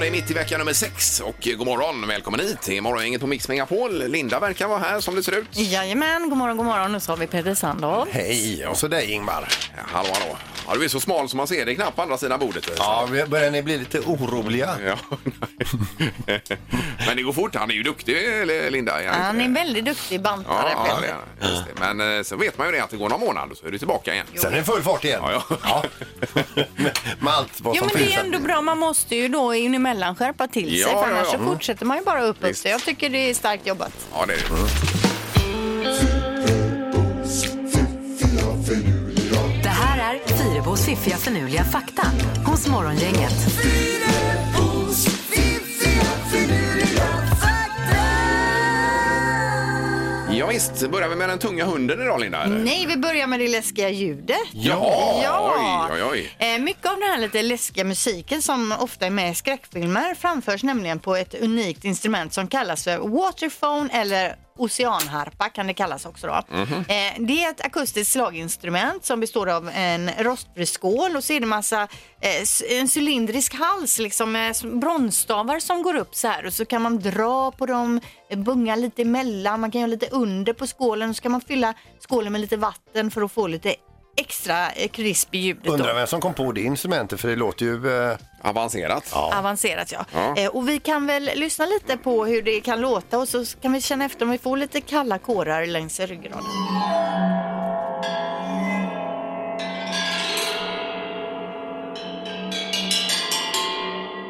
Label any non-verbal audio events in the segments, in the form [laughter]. det är mitt i vecka nummer sex och eh, god morgon, välkommen hit. Det är morgongänget på Mix Megapol. Linda verkar vara här som det ser ut. Jajamän, god morgon, god morgon. Nu så har vi Peder Sandahl. Hej, och så dig Ingmar. Ja, Hallå, hallå. Ja, du är så smal som man ser dig knappt på andra sidan bordet. Ja, vi- börjar ni bli lite oroliga? Ja, [laughs] nej. Men det går fort. Han är ju duktig, eller Linda. är Han är en inte? väldigt duktig Ja, bantare. ja, Peter. det är- just det. Men eh, sen vet man ju det att det går någon månad och så är du tillbaka igen. Sen är det full fart igen. Ja, ja. Med, med allt vad Jo som men det finns. är ändå bra, man måste ju då in emellan skärpa till Ja, sig för ja, annars ja. så Mm. fortsätter man ju bara uppåt. Visst. Så Jag tycker det är starkt jobbat. [laughs] Ja, det är det. Det här är Fyrabos fiffiga förnuliga fakta hos Morgongänget. Ja, visst, börjar vi med den tunga hunden idag, Linda? eller? Nej, vi börjar med det läskiga ljudet. Ja, Ja. oj, oj, oj. Eh, Mycket av den här lite läskiga musiken som ofta är med i skräckfilmer framförs nämligen på ett unikt instrument som kallas för waterphone eller oceanharpa kan det kallas också då. Eh, Det är ett akustiskt slaginstrument som består av en rostfri skål och så är det massa, eh, s- en cylindrisk hals liksom med s- bronsstavar som går upp så här och så kan man dra på dem, eh, bunga lite emellan, man kan göra lite under på skålen och så kan man fylla skålen med lite vatten för att få lite extra eh, krisp i ljudet. då. Undrar vem som kom på det instrumentet för det låter ju... Eh, Avancerat. Avancerat ja. Ja. Eh, och vi kan väl lyssna lite på hur det kan låta och så kan vi känna efter om vi får lite kalla kårar längs ryggraden.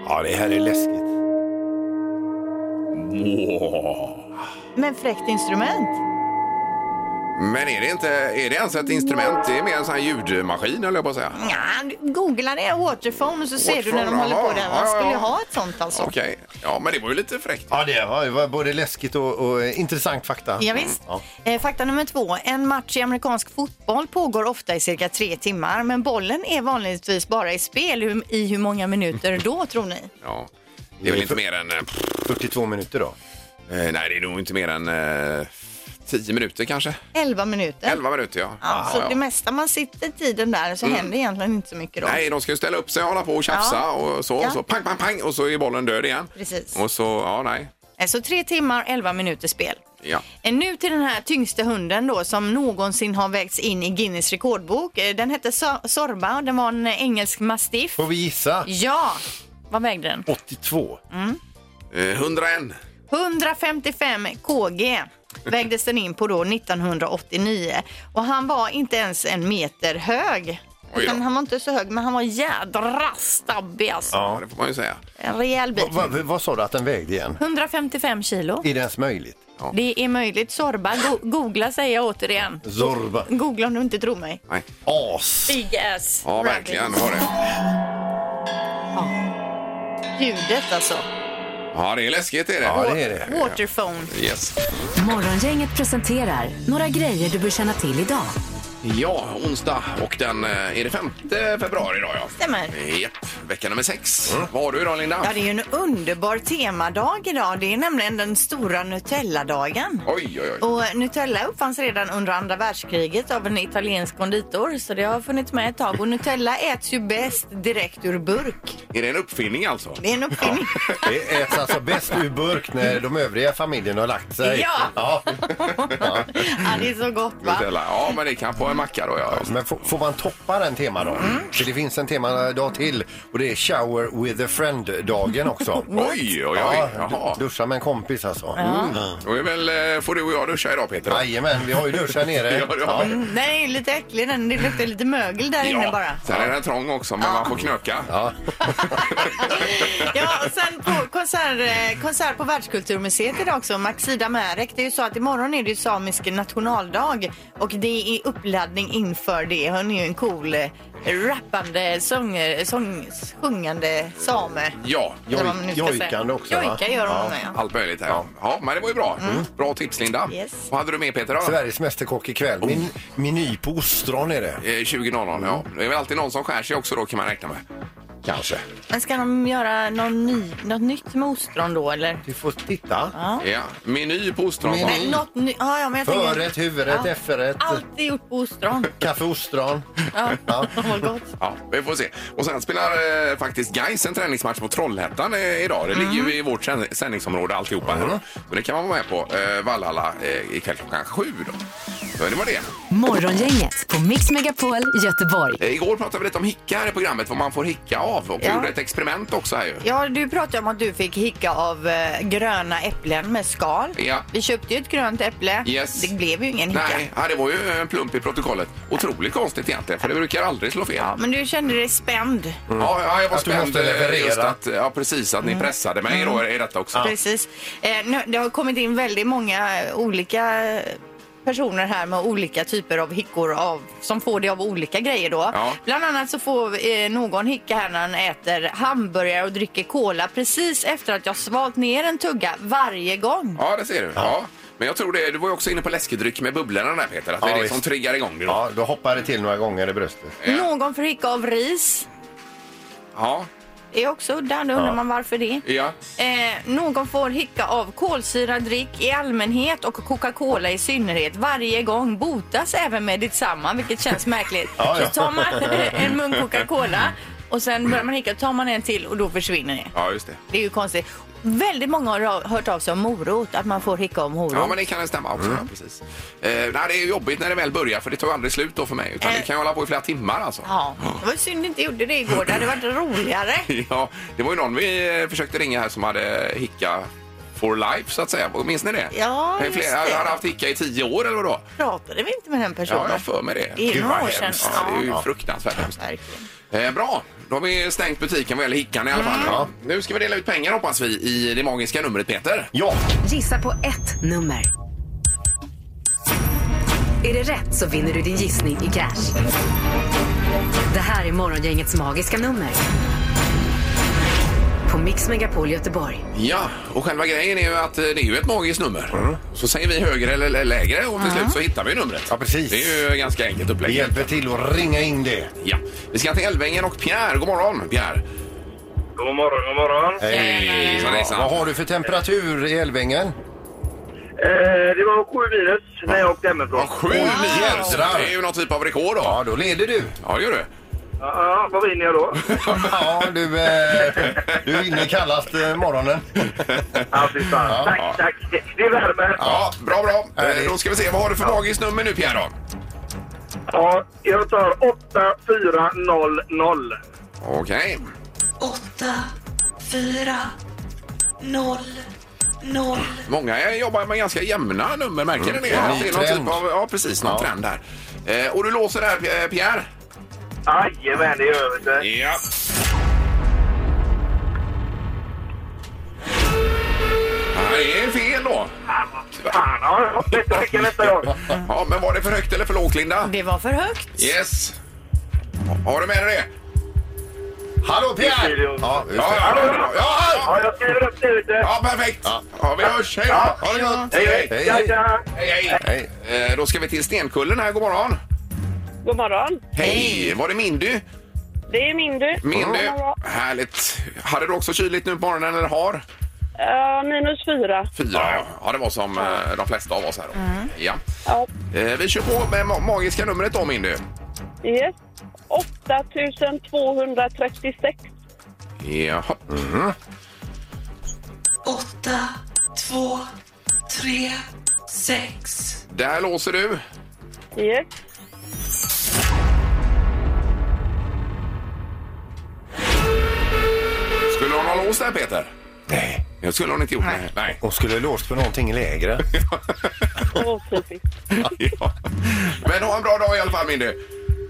ja, det här är läskigt. Men fräckt instrument. Men är det inte, är det ens ett instrument? Det är mer en sån här ljudmaskin, eller jag på att säga. Nja, googla det, waterphone, och så ser du när de Waterphone, håller jaha. på där. Ja, Man ja, skulle ja. ju ha ett sånt alltså. Okej. Ja, men det var ju lite fräckt. Ja, det var- det var både läskigt och, och eh, intressant fakta. Ja, visst. Ja. Eh, Fakta nummer två. En match i amerikansk fotboll pågår ofta i cirka tre timmar, men bollen är vanligtvis bara i spel Hur- i hur många minuter då tror ni? Ja. Det är väl inte mer än... eh, pff, 42 minuter då. eh, Nej, det är nog inte mer än eh, 10 minuter kanske. 11 minuter. 11 minuter, ja. Ja, Ja, så ja. Mm. det mesta man sitter tiden där så händer egentligen inte så mycket då. Nej, de ska ju ställa upp sig och hålla på och tjafsa Ja. och så, Ja. och så pang, pang, pang och så är bollen död igen. Precis. Och så, ja, nej. Eh, Så tre timmar, 11 minuter spel. Ja. Eh, Nu till den här tyngsta hunden då som någonsin har vägts in i Guinness rekordbok. Eh, Den hette So- Sorba och den var en eh, engelsk mastiff. Får vi gissa? Ja, Mm. vad vägde den? 82. Eh, 101. 155 kg vägdes den in på då 1989 och han var inte ens en meter hög. då. Utan han var inte så hög men han var jädra stabbig alltså. Ja, det får man ju säga. En rejäl bit. Va- va- vad sa du att den vägde igen? 155 kilo. Är det ens möjligt? Det är möjligt. Sorba, go- googla säger jag återigen. Zorba. Googla om du inte tror mig. Nej. As. Big ass Ja, verkligen. Har det. Ljudet alltså. Ja, det är läskigt är det. Ja, det är det. Waterphone. Yes. Morgongänget presenterar några grejer du bör känna till idag. Ja, onsdag och den eh, är det 5 februari idag ja. Stämmer. Japp, vecka nummer sex. Mm. Vad har du idag Linda? Ja, det är ju en underbar temadag idag. Det är nämligen den stora Nutella-dagen. Oj, oj, oj. Och Nutella uppfanns redan under andra världskriget av en italiensk konditor så det har funnits med ett tag. Och Nutella äts ju bäst direkt ur burk. Är det en uppfinning alltså? Det är en uppfinning. Det äts alltså bäst ur burk när de övriga familjen har lagt sig. Ja. ja. ja, det är så gott va? Nutella. Ja, men det kan på en macka då. Ja. Men får, får man toppa den temadag? Mm. För det finns en temadag till och det är shower with a friend-dagen också. [laughs] Oj, oj, oj. Ja, Jaha. du- duscha med en kompis alltså. Mm. Då är väl, eh, får du och jag duscha idag Peter? Jajamän, vi har ju dusch här nere. [laughs] Ja, det har vi. Mm, Den är ju lite äcklig den. Det luktar lite mögel där inne bara. Sen är den trång också, men man får knöka. Ja. Ja, och sen på konsert, eh, konsert på Världskulturmuseet idag också. Maxida Märek. Det är ju så att imorgon är det ju samisk nationaldag och det är uppladdning inför det. Hon är ju en cool eh, rappande, sånger, sång, sjungande same. Ja, Eller vad man nu ska säga. jojkande också, va? Jojka gör hon Ja. med, ja. allt möjligt här. Ja. men det var ju bra. Bra tips Linda. Mm. Yes. Vad hade du med Peter då? Sveriges Mästerkock ikväll. Min, meny på ostron är det. Eh, 20.00, ja. Det är väl alltid någon som skär sig också då kan man räkna med. kanske. Men ska de göra någon ny, något nytt med ostron då eller? Du får titta. Ja. Ja. Meny på ostron. Meny. Men något ny, ja, ja, men jag tänker- Förrätt, huvudrätt, Ja. efterrätt, Allt är gjort på ostron. kaffe, ostron. Ja, Ja. [laughs] vad gott. Ja, vi får se. Och sen spelar eh, faktiskt Gais en träningsmatch mot Trollhättan eh, idag. Det ligger ju i vårt sänd- sändningsområde alltihopa. här. Så det kan man vara med på eh, Vallhalla eh, ikväll klockan sju. Då. Så det var det. Morgongänget på Mix Megapol Göteborg. Eh, igår pratade vi lite om hicka här i programmet, vad man får hicka av. Och vi Ja. gjorde ett experiment också här ju. Ja, du pratade om att du fick hicka av eh, gröna äpplen med skal. Ja. Vi köpte ju ett grönt äpple. Yes. Det blev ju ingen hicka. Nej, ja, det var ju en plump i protokollet. Otroligt konstigt egentligen, för det brukar aldrig slå fel. Ja, Men du kände dig spänd. ja, jag var Att du spänd. måste eh, leverera. Just att, ja, precis, att ni pressade mig då i detta också. Precis. Eh, nu, det har kommit in väldigt många eh, olika eh, personer här med olika typer av hickor av, som får det av olika grejer då. Ja. Bland annat så får eh, någon hicka här när han äter hamburgare och dricker cola precis efter att jag svalt ner en tugga varje gång. Ja, det ser du. Ja. Men jag tror det, du var ju också inne på läskedryck med bubblorna där Peter, att det Ja, är det visst. som triggar igång det. då. Ja, då hoppar det till några gånger i bröstet. Ja. Någon får hicka av ris. Ja, Det är också udda, då undrar man varför det. ja. Eh, någon får hicka av kolsyrad dryck i allmänhet och Coca-Cola i synnerhet. Varje gång botas även med detsamma, vilket känns märkligt. Ja, ja. Så tar man eh, en mun Coca-Cola och sen börjar man hicka, tar man en till och då försvinner det. ja just det. Det är ju konstigt. Väldigt många har ra- hört av sig om morot, att man får hicka om morot. Ja, men det kan stämma Mm. också. Ja, precis. Eh, nej, det är ju jobbigt när det väl börjar för det tar ju aldrig slut då för mig. Utan Eh. det kan ju hålla på i flera timmar alltså. Ja, det var synd att inte gjorde det igår. Det hade varit roligare. [laughs] Ja, det var ju någon vi eh, försökte ringa här som hade hicka for life så att säga. Minns ni det? Ja, Eh, just flera, det. Han hade haft hicka i tio år eller vadå? Pratade vi inte med den personen? Ja, jag har för mig det. Det är Gud, några vad år sedan. hemskt. Ja, det är ju Ja. fruktansvärt hemskt. verkligen. Eh, bra, då har vi stängt butiken vad gäller hickan i alla fall. Mm. Ja. Nu ska vi dela ut pengar hoppas vi i det magiska numret Peter. Ja, Gissa på ett nummer. Är det rätt så vinner du din gissning i cash. Det här är Morgongängets magiska nummer. På Mix Megapol Göteborg. Ja, och själva grejen är ju att eh, det är ju ett magiskt nummer. Mm. Så säger vi högre eller eller lägre och till slut så hittar vi numret. Ja, precis. Det är ju ganska enkelt vi upplägg. hjälper till att ringa in det. Ja. Vi ska till Älvängen och Pierre. God morgon Pierre! God morgon, god morgon. Hej! Hejsan, Vad hejsan. vad har du för temperatur i Älvängen? Eh, det var sju minus när jag åkte hemifrån. Ja, sju mil! Så Det är ju någon typ av rekord då. Ja, då leder du. [laughs] Ja, det gör du. Ja, ja, vad vinner [laughs] jag då? Ja, du, eh, du vinner kallast eh, morgonen. Ja, fy fan. Ja. Tack, tack. Det- Det värmer. Ja, bra, bra. Eh, Härligt. Då ska vi se, vad har du för magiskt nummer nu Pierre då? Ja, jag tar 8400. Okej. åtta, fyra, noll, noll. Många jobbar med ganska jämna nummer, märker ni det? Ja, det är ny någon trend. typ av, ja, precis, någon Ja. trend där. Eh, och du låser där P- eh, Pierre? Jajamän, det gör vi. det. Ja. Det är fel då. Fan, ja. Nästa vecka, nästa gång. Ja, men var det för högt eller för lågt Linda? Det var för högt. Yes. Har du med dig det? Hallå Pierre! Idiot. Ja, just Ja, det. ja, ja, ja, ja, Ja, jag skriver upp det ute. ja, perfekt. Ja, vi hörs. Hej då. Ha det gott. Hej, hej. Hej, Tja, hej. tja. Hej, hej. Eh, Då ska vi till Stenkullen här. God morgon. God morgon. Hej. Var det Mindy? Det är min du. Mindy. God morgon. Härligt. Hade du också kyligt nu på morgonen eller har? Eh, minus fyra. Fyra, ja. ja. Mm. Det var som eh, de flesta av oss här. då. Ja. Ja. Eh, Vi kör på med ma- magiska numret då, Mindy. Yes. 8236. Jaha. Åtta, två, tre, sex. Där låser du. Yes. Skulle hon ha låst där, Peter? Nej, Det skulle hon inte gjort. Nej. Nej. hon skulle ha låst för någonting lägre. Oh, typiskt. Ja. Men ha en bra dag i alla fall, Mindy.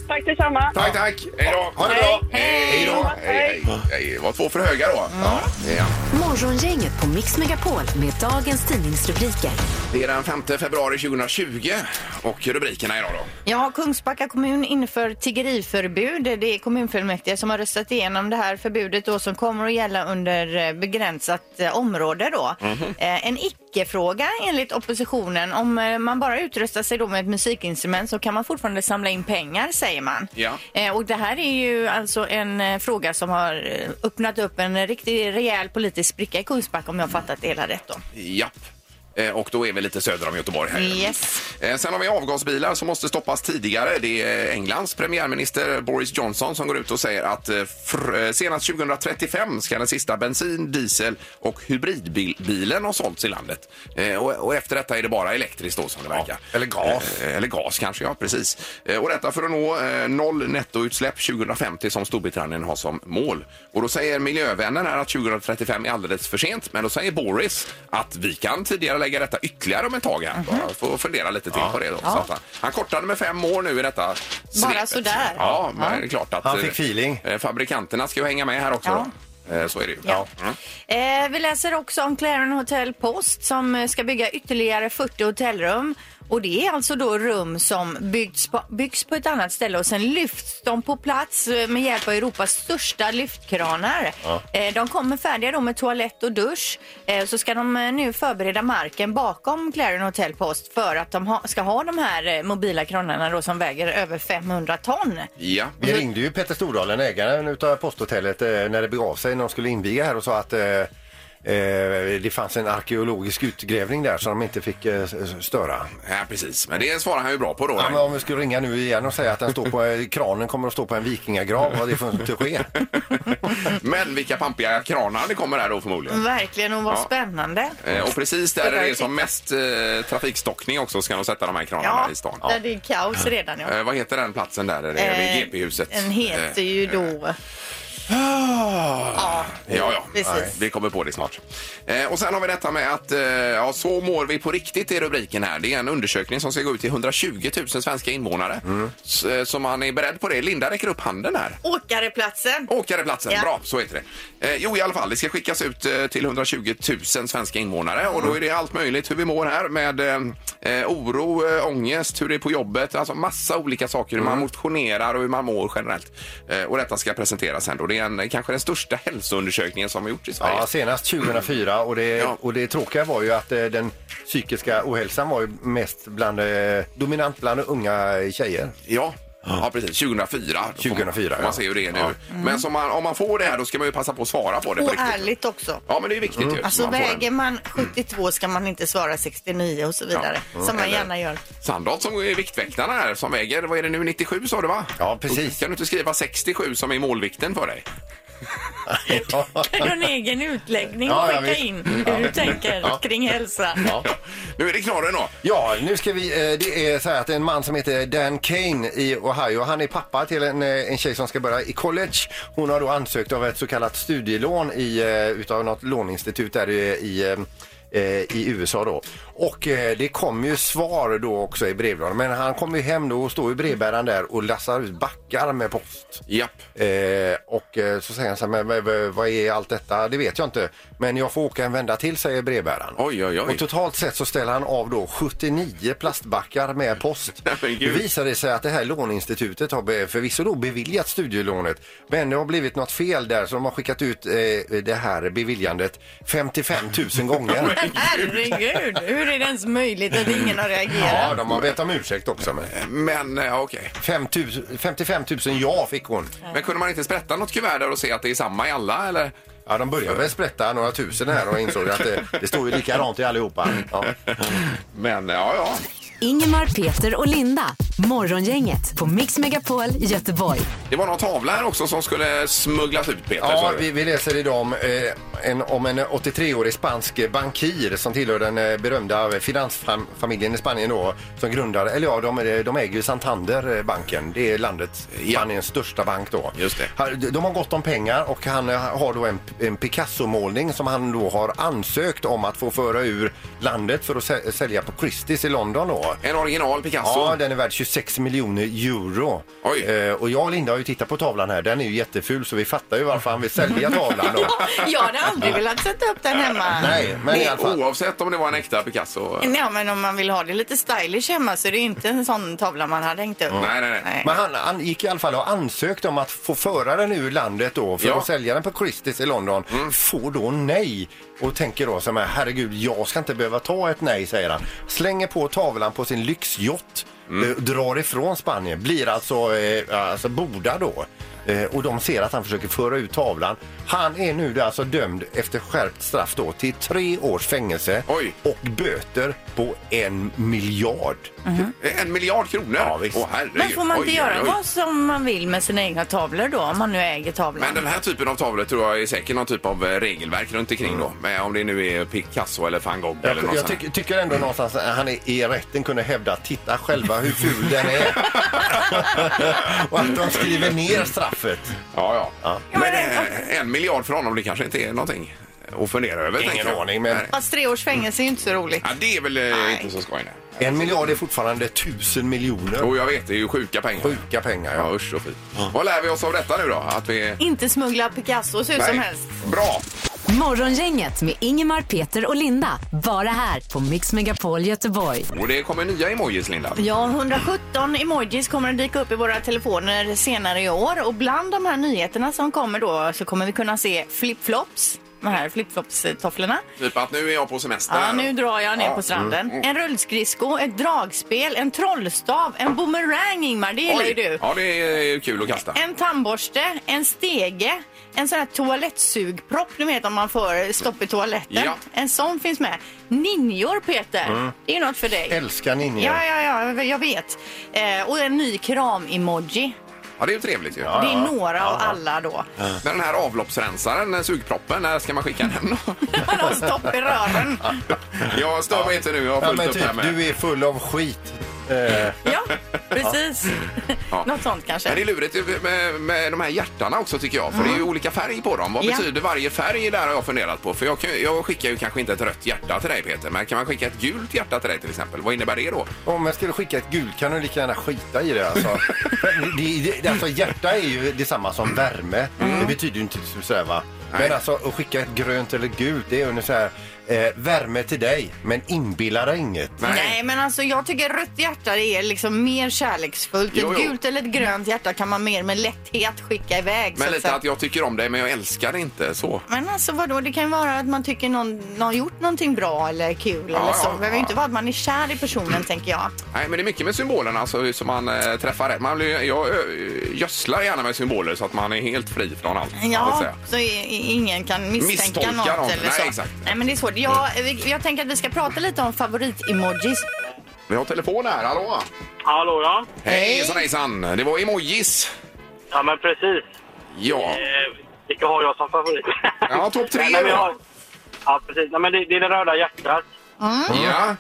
Tack detsamma. Tack, tack. Hej då. Ha det bra! Hej då. Hej, hej. Hej, Det var två för höga då. Ja. Morgongänget på Mix Megapol med dagens tidningsrubriker. Det är den 5 februari 2020 och rubrikerna idag då. Ja, Kungsbacka kommun inför tiggeriförbud. Det är kommunfullmäktige som har röstat igenom det Mhm. här förbudet då som kommer att gälla under eh, begränsat eh, område då. Eh, En icke icke-fråga enligt oppositionen. Om eh, man bara utrustar sig då med ett musikinstrument så kan man fortfarande samla in pengar, säger man. Ja. Eh, Och det här är ju alltså en eh, fråga som har eh, öppnat upp en riktig rejäl politisk spricka i Kungsbacka om jag har fattat det hela rätt då. Japp. Eh, Och då är vi lite söder om Göteborg här. Yes. Eh, Sen har vi avgasbilar som måste stoppas tidigare. Det är Englands premiärminister Boris Johnson som går ut och säger att eh, fr- eh, senast 2035 ska den sista bensin, diesel och hybridbilen ha sålts i landet. Eh, Och, och efter detta är det bara elektriskt då som det verkar. eller gas. Eh, Eller gas kanske, ja precis. Eh, Och detta för att nå eh, noll nettoutsläpp 2050 som Storbritannien har som mål. Och då säger miljövänner här att 2035 är alldeles för sent. Men då säger Boris att vi kan tidigare lägga detta ytterligare om ett tag Mhm. här. Bara Får fundera lite till på det då. Så att han, han kortade med fem år nu i detta svepet. sådär? Ja, men det är klart att Han fick eh, feeling. eh, fabrikanterna ska ju hänga med här också Ja. då. Eh, Så är det ju. Ja. Mm. Eh, vi läser också om Claren Hotel Post som eh, ska bygga ytterligare 40 hotellrum. Och det är alltså då rum som byggts på, byggs på ett annat ställe och sen lyfts de på plats eh, med hjälp av Europas största lyftkranar. Eh, de kommer färdiga då med toalett och dusch. Eh, så ska de eh, nu förbereda marken bakom Claren Hotel Post för att de ha, ska ha de här eh, mobila kranarna då som väger över 500 ton. Ja. [laughs] Vi ringde ju Petter Stordalen, ägaren utav posthotellet, eh, när det begav sig när de skulle inviga här och sa att eh, eh, det fanns en arkeologisk utgrävning där som de inte fick eh, s- s- störa. ja, precis. Men det svarar han ju bra på då. Ja, men om vi skulle ringa nu igen och säga att den står på, eh, kranen kommer att stå på en vikingagrav, vad det får inte ske. Men vilka pampiga kranar det kommer här då förmodligen. Verkligen, och vad Ja. spännande. Eh, Och precis där Det det där är är som mest eh, trafikstockning också ska de sätta de här kranarna Ja, i stan. där det är kaos redan. Ja. Eh, vad heter den platsen där? Är det Eh, vid Eh, GP-huset? Den heter ju då... ja, Ah! ja, ja. precis. Nej, Vi kommer på det snart. Eh, och sen har vi detta med att eh, ja, så mår vi på riktigt i rubriken här. Det är en undersökning som ska gå ut till 120 000 svenska invånare. S- eh, Så man är beredd på det. Linda räcker upp handen här. Åkareplatsen. Åkareplatsen, Ja. bra, så heter det. Eh, jo, i alla fall, det ska skickas ut eh, till 120 000 svenska invånare och då är det allt möjligt hur vi mår här med eh, eh, oro, eh, ångest, hur det är på jobbet, alltså massa olika saker, hur man motionerar och hur man mår generellt. Eh, och detta ska presenteras sen då. Det är en, kanske den största hälsoundersökningen som har gjorts i Sverige. Ja, senast 2004 och det, Ja. och det tråkiga var ju att eh, den psykiska ohälsan var ju mest bland, eh, dominant bland unga tjejer. Ja. Ja, precis. 2004. Då får man- 2004, Man ja. ser ju det nu. Men som man, om man får det här då ska man ju passa på att svara på det. på Och riktigt. ärligt också. Ja, men det är viktigt ju. så Alltså man får en- Mm. väger man 72 ska man inte svara 69 och så vidare. Ja. Mm. Som man Eller- gärna gör. Sandholt som är Viktväktarna här som väger, vad är det nu, 97 sa du va? Ja, precis. Då Kan du inte skriva 67 som är målvikten för dig? en egen utläggning Ja, och ja, skicka visst. in hur du tänker kring hälsa. Nu är det knorren då. Ja, nu ska vi, eh, det är så här att en man som heter Dan Kane i Ohio, han är pappa till en, eh, en tjej som ska börja i college. Hon har då ansökt av ett så kallat studielån i, eh, utav något låneinstitut där i, i, eh, i USA då. Och eh, det kom ju svar då också i brevlådan. Men han kom ju hem då och står i brevbäraren där och lassar ut backar med post. Japp. Eh, och eh, så säger han så här, men vad- vad- vad är allt detta? Det vet jag inte. Men jag får åka en vända till, säger brevbäraren. Oj, oj, oj. Och totalt sett så ställer han av då 79 plastbackar med post. Nej, [laughs] men Det gud. visar det sig att det här låneinstitutet har be- förvisso då beviljat studielånet. Men det har blivit något fel där så de har skickat ut eh, det här beviljandet 55 [laughs] 000 gånger. Herregud, hur är det ens möjligt att ingen har Ja, reagerat? de har bett om ursäkt också. Men Men eh, ja, okej. 5 000, 55 000 ja fick hon. Men kunde man inte sprätta något kuvert där och se att det är samma i alla eller? Ja, de började väl sprätta några tusen här och insåg att det, det står ju likadant i allihopa. Mm. Ja. Men eh, ja, ja. Ingemar, Peter och Linda. Morgongänget på Mix Megapol Göteborg. Det var någon tavla här också som skulle smugglas ut Peter. sa Ja, du. vi, vi läser idag om eh, en, om en 83-årig spansk bankir som tillhör den eh, berömda finansfamiljen i Spanien då, som grundar, eller ja, de, de äger ju Santander eh, banken. Det är landets, Ja. Spaniens största bank då. Just det. Han- de- De har gott om pengar och han eh, har då en, en Picasso-målning som han då har ansökt om att få föra ur landet för att sä- sälja på Christie's i London då. En original Picasso. Ja, den är värd 26 6 miljoner euro. Oj. Eh, och jag och Linda har ju tittat på tavlan här. Den är ju jätteful så vi fattar ju varför han vill sälja tavlan då. Jag hade aldrig velat sätta upp den hemma. Nej, men i alla fall. Oavsett om det var en äkta Picasso. Ja, men om man vill ha det lite stylish hemma så är det inte en sån tavla man hade hängt upp. Nej, nej, nej. Men han, han gick i alla fall och ansökte om att få föra den ur landet då för Ja. Mm. att sälja den på Christie's i London. Får då nej och tänker då så här, herregud, jag ska inte behöva ta ett nej, säger han. Slänger på tavlan på sin lyxjott, Mm. eh, drar ifrån Spanien, blir alltså, eh, alltså bordad då. Eh, och de ser att han försöker föra ut tavlan. Han är nu då alltså dömd efter skärpt straff då till tre års fängelse Oj. och böter på en miljard. En miljard kronor? Ja, visst. Åh, herregud. Mm-hmm. Men får man inte Oj, göra oj, oj. vad som man vill med sina egna tavlor då, om man nu äger tavlan? Men den här typen av tavlor tror jag är säkert någon typ av eh, regelverk runt omkring då. Men om det nu är Picasso eller van Gogh eller Mm. Jag, något jag sånt. tycker- tycker ändå någonstans att han är i rätten kunde hävda att titta själva hur ful [laughs] den är. och att de skriver ner straffet. Ja, ja. Men eh, en miljard för honom, det kanske inte är någonting att fundera över. Ingen tänker jag. aning, men- Nej. Fast tre års fängelse är ju inte så roligt. Ja, det är väl eh, Nej. inte så skoj. nej. En miljard är fortfarande tusen miljoner. Jo, jag vet. Det är ju sjuka pengar. Sjuka pengar. Ja, Ja. usch och fy. Vad lär vi oss av detta nu då? Att vi... Inte smuggla Picassos hur som Nej. helst. Bra! Morgongänget med Ingemar, Peter och Linda. Bara här på Mix Megapol Göteborg. Och det kommer nya emojis, Linda. Ja, 117 emojis kommer att dyka upp i våra telefoner senare i år och bland de här nyheterna som kommer då så kommer vi kunna se flipflops, de här flipflops-tofflorna. Typ att nu är jag på semester. Ja, nu drar jag ner Ja. Mm, på stranden. En rullskridsko, ett dragspel, en trollstav, en boomerang Ingmar, det gillar ju Oj! du. Ja, det är eh, kul att kasta. En tandborste, en stege, en sån här toalettsugpropp, ni vet om man får stopp i toaletten. Ja. Mm. En sån finns med. Ninjor Peter, det är ju något för dig. Älskar ninjor. Ja, ja, ja, jag vet. Eh, och en ny kram-emoji. Ja, det är ju trevligt ju. Det är några av alla då. Men den här avloppsrensaren, den här sugproppen, när ska man skicka den? Man har stopp [laughs] i rören. jag stör mig inte nu, jag har Ja, fullt men upp typ, här med. du är full av skit. Eh, Ja, precis. Ja. [laughs] Något sånt kanske. Men det är lurigt ju med, med de här hjärtarna också tycker jag, för det är ju olika färg på dem. Vad Ja. betyder varje färg där har jag funderat på. För jag, kan, jag skickar ju kanske inte ett rött hjärta till dig Peter, men kan man skicka ett gult hjärta till dig till exempel? Vad innebär det då? Om jag skulle skicka ett gult kan du lika gärna skita i det. Alltså. det, det alltså hjärta är ju detsamma som värme. Det betyder ju inte sådär va. Nej. Men alltså att skicka ett grönt eller gult det är ungefär eh, värme till dig men inbilla dig inget. Nej. men alltså jag tycker rött hjärta är liksom mer kärleksfullt. Jo, ett jo. gult eller ett grönt hjärta kan man mer med lätthet skicka iväg. så Men att lite säga. att jag tycker om dig men jag älskar dig inte så. Men alltså vadå, det kan ju vara att man tycker någon, någon har gjort någonting bra eller kul eller ja, så. Det behöver ju ja. inte vara att man är kär i personen tänker jag. Nej men det är mycket med symbolerna alltså, som man eh, träffar rätt. Man blir, jag ö, gödslar gärna med symboler så att man är helt fri från allt. så att Ja, säga. så i- i- ingen kan misstänka Misstolka något någon. eller Nej, så. exakt. Mm. Nej, men det är svårt. Jag, vi- jag tänker att vi ska prata lite om favorit-emojis. Vi har telefon här, hallå! Hallå ja? Hej hejsan, hejsan! Det var emojis. Ja men precis. Ja, Eh, vilka har jag som favorit? Ja, topp tre Nej, men jag då. har- Ja precis, Nej, men det, det är det röda hjärtat, ja.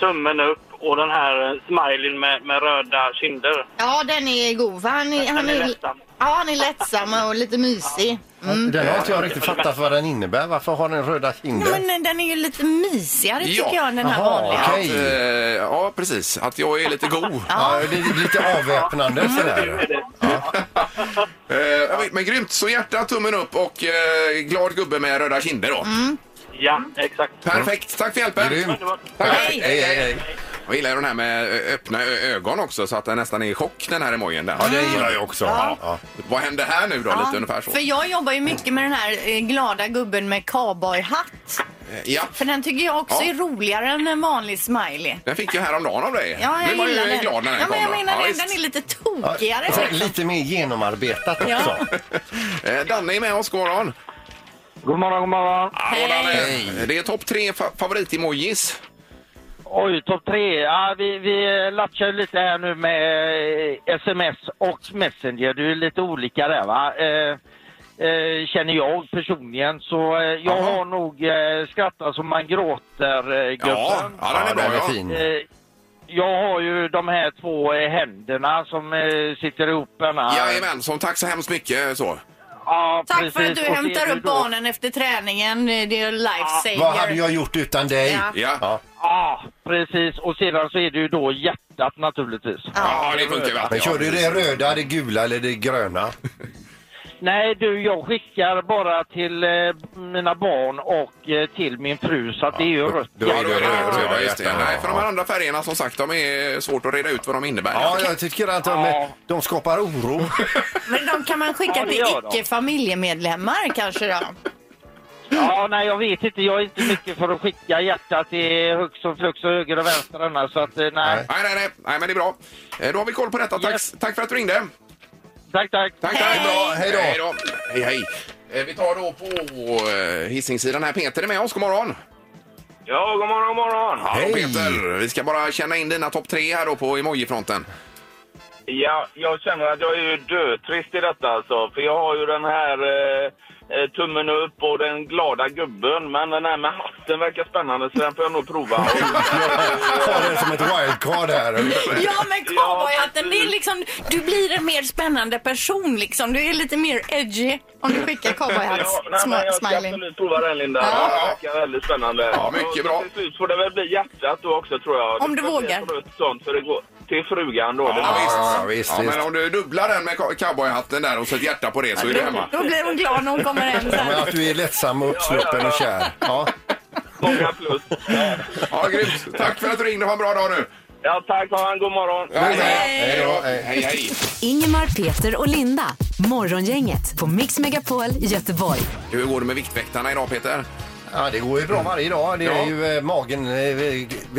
tummen upp och den här eh, smileyn med, med röda kinder. Ja, den är god. va? Han är, han Den är är, ja, lättsam. han är lättsam och lite mysig. Mm. Den har inte jag riktigt fattat vad den innebär. Varför har den röda kinder? Nej, men den är ju lite mysigare Ja. tycker jag än den här Jaha, vanliga. Att, Hej. eh, ja, precis. Att jag är lite [laughs] god. Ja, det är lite avväpnande sådär. Eh, jag vet, men grymt, så hjärta, tummen upp och eh, glad gubbe med röda kinder då. Mm. Ja, exakt. Perfekt, tack för hjälpen. Grymt. Tack. Hej. Hej, hej, hej. Jag gillar ju den här med ö, öppna ö- ögon också så att den nästan är i chock den här emojin där. Mm. Ja, det gillar jag också. Ja. Vad händer här nu då? Lite ungefär så. För jag jobbar ju mycket med den här eh, glada gubben med cowboyhatt. Eh, Ja. För den tycker jag också Ja. är roligare än en vanlig smiley. Den fick jag häromdagen av dig. Ja, jag Blev man ju gillar den. glad när den ja, kom. men jag då. menar Ja, det. visst. Den är lite Ja, tokigare. så Alltså, Lite mer genomarbetat också. Ja. Eh, Danne är med oss, god morgon. God morgon, god morgon. Hallå, Danne. Eh, Hej. Det är topp tre fa- favorit-emojis. Oj, topp tre. Ja, vi vi eh, latchar ju lite här nu med eh, sms och messenger. Det är ju lite olika där va. Eh, eh, känner jag personligen. Så eh, jag Jaha. har nog eh, skrattat som man gråter eh, Ja, gubben. ja, den är bra. den är ja. fin. Eh, jag har ju de här två eh, händerna som eh, sitter ihop. Den här. Jajamän, som tack så hemskt mycket. Så. ja, Tack precis. för att du Och det är hämtar ju upp då- barnen efter träningen. Det är life Vad saver. hade jag gjort utan dig? Ja. Ja. Ja. Ja. Ja, precis. Och sedan så är det ju då hjärtat naturligtvis. det funkar väl. Men kör du Ja, det röda, det gula eller det gröna? Nej du, jag skickar bara till eh, mina barn och eh, till min fru så att det är ju rött. då är Ja, då är det Ja, röda, röda ja, just det. hjärtan, Nej, ja. för de här andra färgerna som sagt, de är svårt att reda ut vad de innebär. Ja, jag tycker att de, Ja. de skapar oro. Men de kan man skicka Ja, det till gör de. icke-familjemedlemmar kanske då? Ja, nej jag vet inte. Jag är inte mycket för att skicka hjärtat i hux och flux och höger och vänster annars. Så att eh, nej. Nej. Nej, nej, nej, nej, men det är bra. Eh, Då har vi koll på detta. Tack, Yes. tack för att du ringde. Tack, tack. Tack, tack. Hej. Bra, Hej då. Hej, då. hej, hej. Eh, Vi tar då på eh, Hisingssidan här. Peter är med oss. God morgon. Ja, god morgon, god morgon. Hallå Hej. Peter. Vi ska bara känna in dina topp tre här då på emojifronten. Ja, jag känner att jag är ju dötrist i detta alltså. För jag har ju den här eh, eh, tummen upp och den glada gubben. Men den här med hatten verkar spännande så den får jag nog prova. Ta det som ett wildcard här. Ja, men cowboyhatten, det är liksom, du blir en mer spännande person liksom. Du är lite mer edgy om du skickar Ja, nej, men jag ska cowboyhatt-smiley. absolut prova den Linda. Ja. Det verkar väldigt spännande. Ja, mycket Och bra. Till slut får det väl bli hjärtat då också tror jag. Om du Det får bli vågar. ett rött sånt så det går till frugan då. Det- Ja, ja, visst, Ja, visst. men om du dubblar den med cow- cowboyhatten där och så ett hjärta på det så är du hemma. Då blir hon glad när hon kommer hem Ja, men sen. att du är lättsam och uppsluppen och kär. Ja. Många plus. Ja, grymt. Tack för att du ringde. Ha en bra dag nu. Ja, tack. Ha en god morgon. Hej, Hej. hej. då. Hej. Hej, hej. Ingemar, Peter och Linda. Morgongänget på Mix Megapol Göteborg. Hur går det med Viktväktarna idag Peter? Ja, det går ju bra varje dag. Det Ja. är ju, eh, magen eh,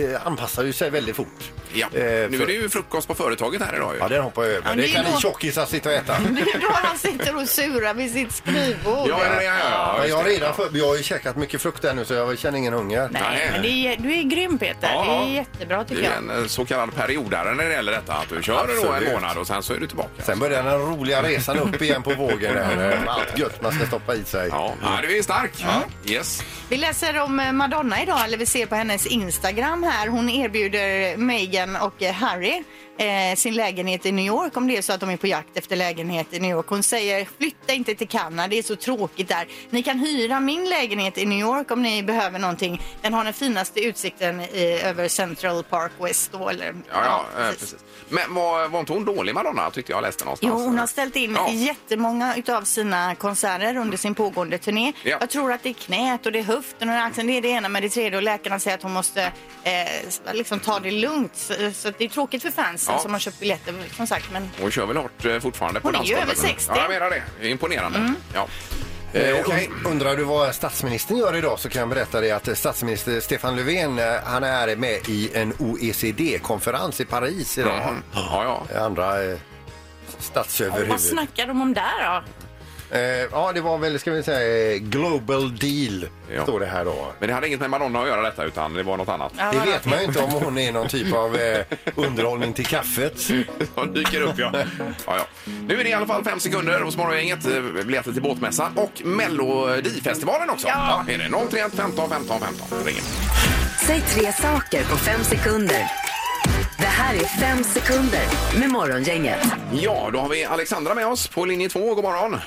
eh, anpassar ju sig väldigt fort. Ja. Eh, Nu är för- det ju frukost på företaget här idag ju. Ja, den hoppar jag över. Ja, det det är kan då- ni tjockisar sitta och äta. Det är då han sitter och surar vid sitt skrivbord. Ja, ja, ja, ja, Men just jag har det. redan för, jag har ju käkat mycket frukt där nu så jag känner ingen hunger. Nej, men det är, du är grym Peter. Ja, det ja. är jättebra Det tycker är jag. en eh, så kallad periodare när det gäller detta. Att du kör då en Absolut. månad och sen så är du tillbaka. Sen börjar den roliga resan upp igen på vågen där eh, med allt gött man ska stoppa i sig. Ja, ja du är stark. Yes. Vi läser om eh, Madonna idag, eller vi ser på hennes Instagram här. Hon erbjuder Meghan och eh, Harry eh, sin lägenhet i New York om det är så att de är på jakt efter lägenhet i New York. Hon säger flytta inte till Kanada, det är så tråkigt där. Ni kan hyra min lägenhet i New York om ni behöver någonting. Den har den finaste utsikten i, över Central Park West då, eller, Ja, ja, eh, precis. Men var, var inte hon dålig Madonna tyckte jag läste någonstans? Jo, hon har ställt in Alltså. Ja. jättemånga utav sina konserter under sin pågående turné. Ja. Jag tror att det är knät och det är höften och det är axeln. Det är det ena med det tredje och läkarna säger att hon måste eh, liksom ta det lugnt. Så, så att det är tråkigt för fansen Ja. som har köpt biljetter som sagt. Men Hon kör väl hårt eh, fortfarande på Hon är ju dansgolvet. över Mm. 60. Ja, jag menar det. Det är Imponerande. Ja. Eh, Eh, och okej. Undrar du vad statsministern gör idag så kan jag berätta dig att eh, statsminister Stefan Löfven eh, han är med i en OECD-konferens i Paris idag. Mhm. Ja, ja. Eh, Andra eh, vad statsöverhuvud. snackar de om där då? Eh, ja, det var väl, ska vi säga, eh, Global Deal Ja. står det här då. Men det hade inget med Madonna att göra detta utan det var något annat Ja, Det vad- vet man ju inte om hon är någon typ av eh, underhållning till kaffet. som dyker upp. Ja. Ja, ja. Nu är det i alla fall fem sekunder hos Morgongänget. eh, Biljetter till båtmässan och Melodifestivalen också. Ja. Är det 031 15 15 15? Ring. in. Säg tre saker på fem sekunder. Det här är fem sekunder med Morgongänget. Ja, då har vi Alexandra med oss på linje 2. God morgon!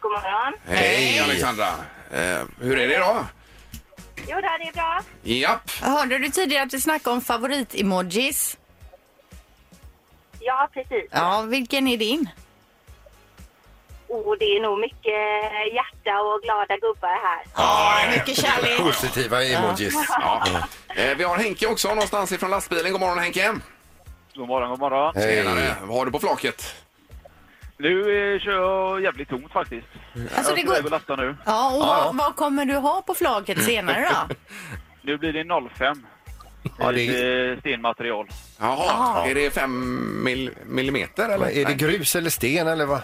God morgon. Hej Alexandra! Eh, hur är det idag? Jo, det här är bra. Japp! Hörde du tidigare att vi snackade om favorit-emojis? Ja, precis. Ja, vilken är din? Och det är nog mycket hjärta och glada gubbar här. Ja, mycket [laughs] kärlek. Positiva emojis. Ja. Eh, vi har Henke också någonstans ifrån lastbilen. God morgon Henke! God morgon, god morgon. Hej. Tjenare! Vad har du på flaket? Nu kör jag jävligt tomt faktiskt. Alltså, det går... lasta nu. Ja, och vad, vad kommer du ha på flaket senare då? Nu blir det 05 Ja, det är, stenmaterial. Jaha, Jaha. är det 5 mil- millimeter [laughs] eller? är det Nej. grus eller sten eller vad?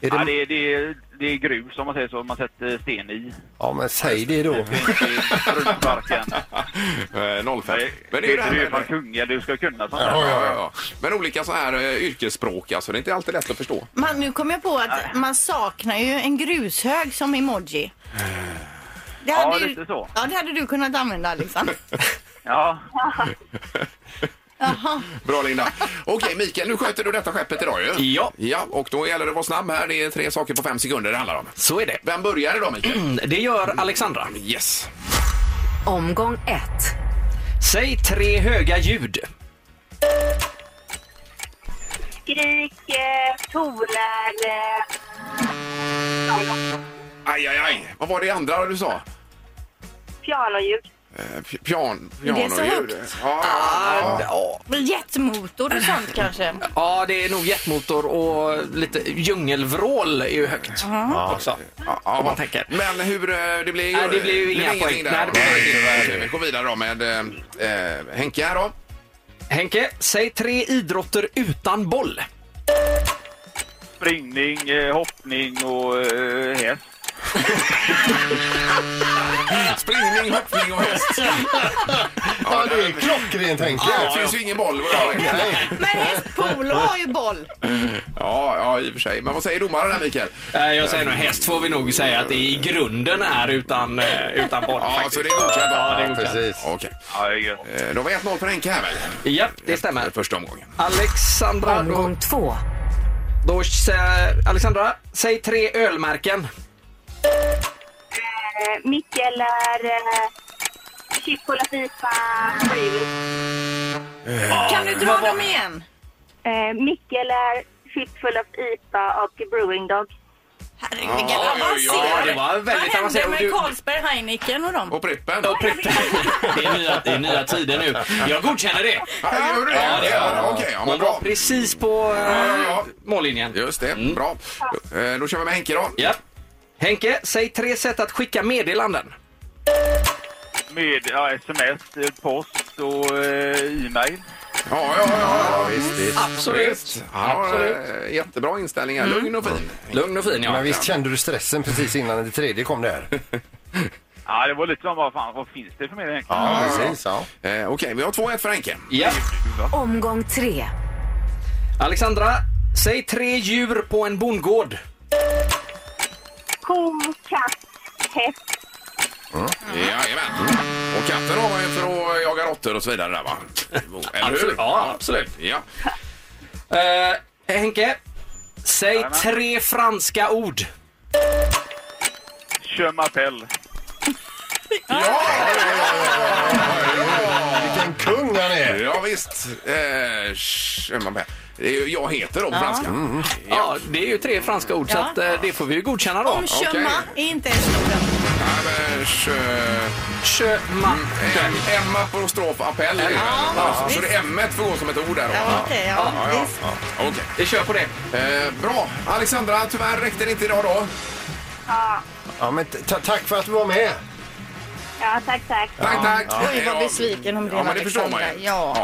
Är Ja, det, det, är- det, är- det är grus om man säger så, man sätter sten i. ja, men säg det då. Det är inte struntbarken. Eh, 05. Nej, Men det är ju vet det du, du här är fan med... kung, eller du ska kunna sånt Ja, där. ja, ja. Men olika så här eh, yrkesspråk, alltså. Det är inte alltid lätt att förstå. Man, nu kom jag på att man saknar ju en grushög som emoji. Det Ja, ju- lite så. liksom. Ja, det hade du kunnat använda, Alexander. Ja, Bra [laughs] Linda. Okej Mikael, nu sköter du detta skeppet idag ju. Ja. Ja, och då gäller det att vara snabb här. Det är tre saker på fem sekunder det handlar om. Så är det. Mm, Vem börjar idag [clears throat] Mikael? Det gör Alexandra. Yes. Omgång ett. Säg tre höga ljud. Skrik, eh, toner. Eh, Aj, aj, aj. Vad var det andra du sa? pianoljud. Eh, pi- Pian, är pianoljud. så högt. Ja, ja, ja. Ja, Jetmotor och sånt kanske. ja det är nog jetmotor och lite djungelvrål är ju högt. Också. Ja, ja. Om man tänker. Men hur eh, det blir... Nej, det blir ju inga ingenting poäng. där. Nej, det blir Nej, ingenting. nej, nej. Vi går vidare då med eh, eh, Henke här då. Henke, säg tre idrotter utan boll. Springning, eh, hoppning och eh, häst. [laughs] Springning, hoppning och häst. Ja, det är klockrent Henke. Det finns ju ingen boll. vad jag vet. Nej. Men hästpolo har ju boll. Ja, ja, i och för sig. Men vad säger domaren där, Mikael? Eh, Jag säger nog häst får vi nog säga att det i grunden är utan, eh, utan boll. Ja, faktiskt. så det är godkänt. Ja, det är Ja, godkänt. Precis. Okej. Ja, det är gött. Eh, Då var 1-0 för Henke här väl? Ja, det stämmer. Första omgången. Alexandra, då, Omgång två. då, sä- Alexandra, säg tre ölmärken. Eh, Mikkeller. Eh, Chip, Cola, Fifa, Brewis. Kan du dra dem igen? Eh, Mikkeller, Chip, Full of IPA och Brewing Dog. Herregud, vilken avancerad. Ja, det var väldigt Vad hände avancerat. med Du- Carlsberg, Heineken och dem? Och Prippen. Och prick- Det är, nya, det är nya tider nu. Jag godkänner det. Ja, gör du det? Ja, det gör jag. Okej, ja, Hon men var bra. precis på eh, Ja, ja. mållinjen. Just det, Mm. bra. Eh, Då kör vi med Henke då. Ja. Henke, säg tre sätt att skicka meddelanden. Med ja, sms, eh, post och eh, e-mail. Ja, ja, ja. ja. Visst, visst. Visst. Han har eh, jättebra inställning här. Mm. Lugn och fin. Lugn och fin, ja. Men visst kände du stressen precis innan det tredje kom där? Ja, det var lite som vad fan, vad finns det för mig egentligen? Ja, precis. Ja. Eh, Okej, vi har 2-1 för Henke. ja. Omgång tre. Alexandra, säg tre djur på en bondgård. Ko, katt, häst. Jajamän. Och katten har man ju för att jaga råttor och så vidare där va? Eller hur? Ja, absolut. Ja. Eh, Henke, säg tre franska ord. Kör Mappell. Vilken kung han är! Ja visst. Eh, sh- man med. Det är ju- jag heter då på franska. Ja. det är ju tre franska ord, så Ja. att, eh, det får vi ju godkänna då. Om kömma är inte ens orden. Ja, men sh- Köma. eh, Emma på strof appell. är det. Ja, så det är M får gå som ett ord där då. Ja, okej, ja. Ja, ja, ja. Okej. Vi kör på det. Eh, bra. Alexandra, tyvärr räckte det inte idag då. Ja, men t- ta- tack för att du var med! Ja, tack, tack. Tack, tack. Oj, vad besviken hon blev, Ja, men det förstår man ju. Alexandra. Ja.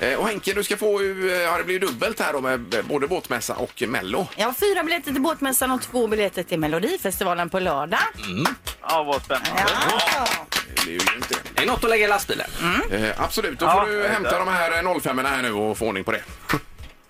Ja. Eh, Och Henke, du ska få ju, eh, ja, det blir ju dubbelt här då med eh, både båtmässa och mello. Jag har fyra biljetter till Båtmässan och två biljetter till Melodifestivalen på lördag. Mm. Ja, vad spännande. Det är ju grymt det. Det är något att lägga i lastbilen. Mm. Eh, absolut, då Ja, får du det är hämta det. de här 05 här nu och få ordning på det.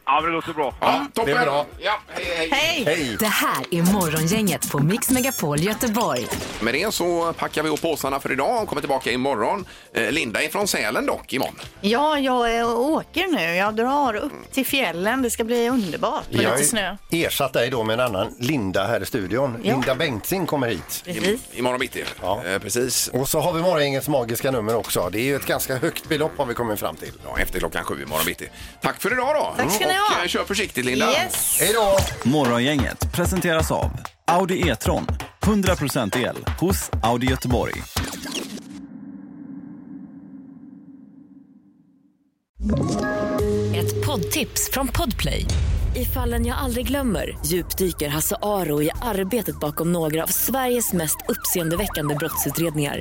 Ja, men det låter bra. Ja, toppen! det är bra. Ja, hej, hej. Hej! Hej! Det här är Morgongänget på Mix Megapol Göteborg. Med det så packar vi ihop påsarna för idag och kommer tillbaka imorgon. Eh, Linda är från Sälen dock imorgon. Ja, jag eh, åker nu. Jag drar upp till fjällen. Det ska bli underbart med Jag lite snö. ersatt dig då med en annan Linda här i studion. Ja. Linda Bengtzing kommer hit. Precis. Imorgon bitti. Ja. Eh, precis. Och så har vi Morgongängets magiska nummer också. Det är ju ett ganska högt belopp har vi kommit fram till. Ja, efter klockan sju imorgon bitti. Tack för idag då! Tack ska ni och ha. eh, kör försiktigt Linda. Yes! Hej då! Morgongänget presenteras av Audi E E-tron. 100% el hos Audi Göteborg. Ett poddtips från Podplay. I fallen jag aldrig glömmer djupdyker Hasse Aro i arbetet bakom några av Sveriges mest uppseendeväckande brottsutredningar.